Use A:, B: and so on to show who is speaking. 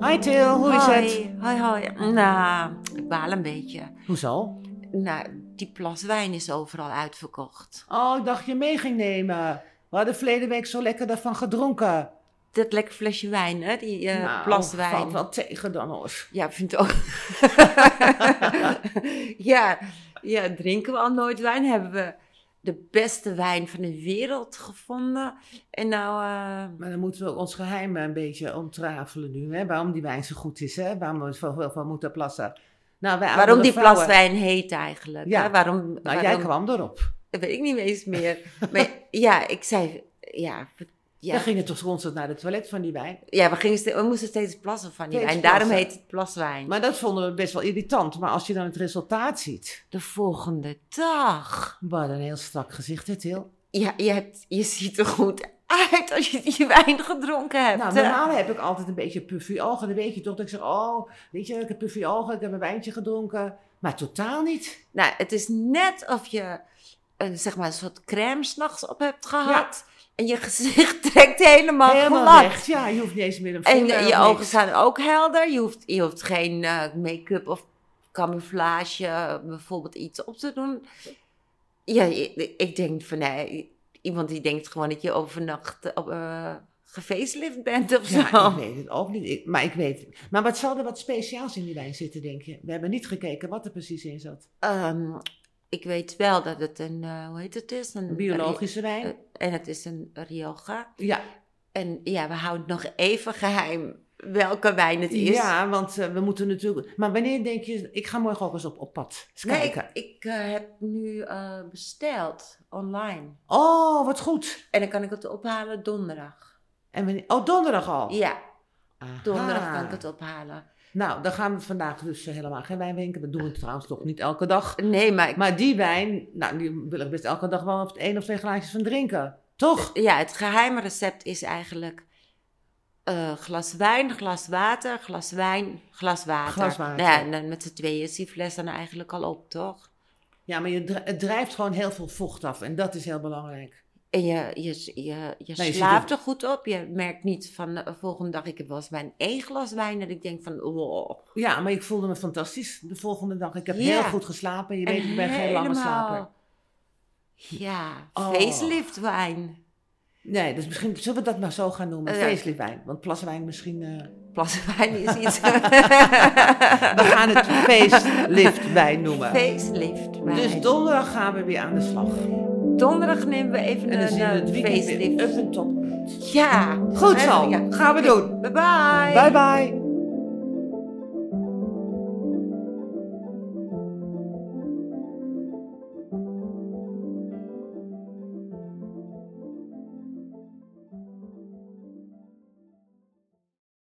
A: Hi Til, hoe is het?
B: hoi, hoi, hoi. Nou, ik baal een beetje.
A: Hoezo?
B: Nou, die plas wijn is overal uitverkocht.
A: Oh, ik dacht je mee ging nemen. We hadden verleden week zo lekker daarvan gedronken.
B: Dat lekker flesje wijn, hè? Die eh
A: Nou,
B: plas wijn.
A: Valt wel tegen dan hoor.
B: Ja, ik vind het ook. ja, ja, drinken we al nooit wijn? Hebben we de beste wijn van de wereld gevonden? En nou, eh,
A: Maar dan moeten we ons geheim een beetje ontrafelen nu. Hè? Waarom die wijn zo goed is, hè? Waarom we zoveel van moeten plassen. Nou, wij
B: waarom
A: oudere
B: die
A: vrouwen-
B: plas wijn heet eigenlijk?
A: Ja.
B: hè? Waarom,
A: Nou,
B: waarom-
A: jij kwam erop.
B: Dat weet ik niet eens meer. maar ja, ik zei, ja, ja,
A: Dan ging het toch constant naar het toilet van die wijn.
B: Ja, we, gingen ste- we moesten steeds plassen van die
A: Steeds
B: wijn. Daarom
A: plassen.
B: heet het plaswijn.
A: Maar dat vonden we best wel irritant. Maar als je dan het resultaat ziet.
B: de volgende dag.
A: Wat een heel strak gezicht, hè, Til?
B: Ja, je, hebt, je ziet er goed uit als je die wijn gedronken hebt.
A: Nou,
B: hè?
A: normaal heb ik altijd een beetje puffy ogen. Dan weet je toch dat ik zeg, oh, weet je, ik heb puffy ogen, ik heb een wijntje gedronken. Maar totaal niet.
B: Nou, het is net of je een, zeg maar, een soort crème s'nachts op hebt gehad. En je gezicht trekt helemaal,
A: Helemaal
B: glad.
A: recht. Ja, je hoeft niet eens meer een
B: En
A: vinger
B: eh,
A: of
B: je
A: niks.
B: ogen staan ook helder. Je hoeft, je hoeft geen eh, make-up of camouflage eh, bijvoorbeeld iets op te doen. Ja, ik, ik denk van nee, iemand die denkt gewoon dat je overnacht eh, op, eh gefacelift bent of
A: Ja,
B: zo.
A: ik weet het ook niet. Ik- maar ik weet Maar wat zal er wat speciaals in die wijn zitten, denk je? We hebben niet gekeken wat er precies in zat.
B: Ehm, ik weet wel dat het een, eh, hoe heet het is?
A: Een biologische wijn?
B: en het is een Rioja.
A: Ja,
B: En eh, ja, we houden nog even geheim welke wijn het is.
A: ja want eh, we moeten natuurlijk... Maar wanneer denk je... Ik ga morgen ook eens op, op pad. Eens
B: Nee,
A: kijken.
B: ik, ik eh, heb nu eh, besteld online.
A: Oh, wat goed.
B: En dan kan ik het ophalen donderdag.
A: En wanneer... Oh, donderdag al.
B: Ja,
A: Aha.
B: donderdag kan ik het ophalen.
A: Nou, dan gaan we vandaag dus eh, helemaal geen wijn drinken. Dat doen we trouwens nog niet elke dag.
B: Nee, maar ik-
A: Maar die wijn, nou, die wil ik best elke dag wel op één of twee glaasjes van drinken. Toch?
B: ja, het geheime recept is eigenlijk eh, glas wijn, glas water, glas wijn, glas water.
A: Glas water.
B: Nou ja, en dan met z'n tweeën is die fles dan eigenlijk al op, toch?
A: Ja, maar je dri- het drijft gewoon heel veel vocht af. En dat is heel belangrijk.
B: En je, je, je, je
A: Nee, je
B: slaapt
A: ziet
B: er goed op. Je merkt niet van de volgende dag, ik heb wel eens bij een één glas wijn, dat ik denk van, wow.
A: Ja, maar ik voelde me fantastisch de volgende dag. Ik heb
B: Ja.
A: heel goed geslapen. Je weet, ik ben geen lange slaper.
B: Ja,
A: Oh.
B: facelift wijn.
A: Nee, dus misschien zullen we dat maar zo gaan noemen.
B: Ja.
A: Feestelijk wijn. Want plaswijn misschien... eh,
B: Plaswijn is iets...
A: We gaan het feestlift wijn noemen.
B: Facelift. wijn.
A: Dus donderdag gaan we weer aan de slag.
B: donderdag nemen we even
A: En dan
B: een,
A: zien we het
B: eh,
A: weekend weer
B: facelift.
A: up en top.
B: Ja.
A: Goed zo,
B: Ja.
A: gaan we doen.
B: Bye bye.
A: Bye bye.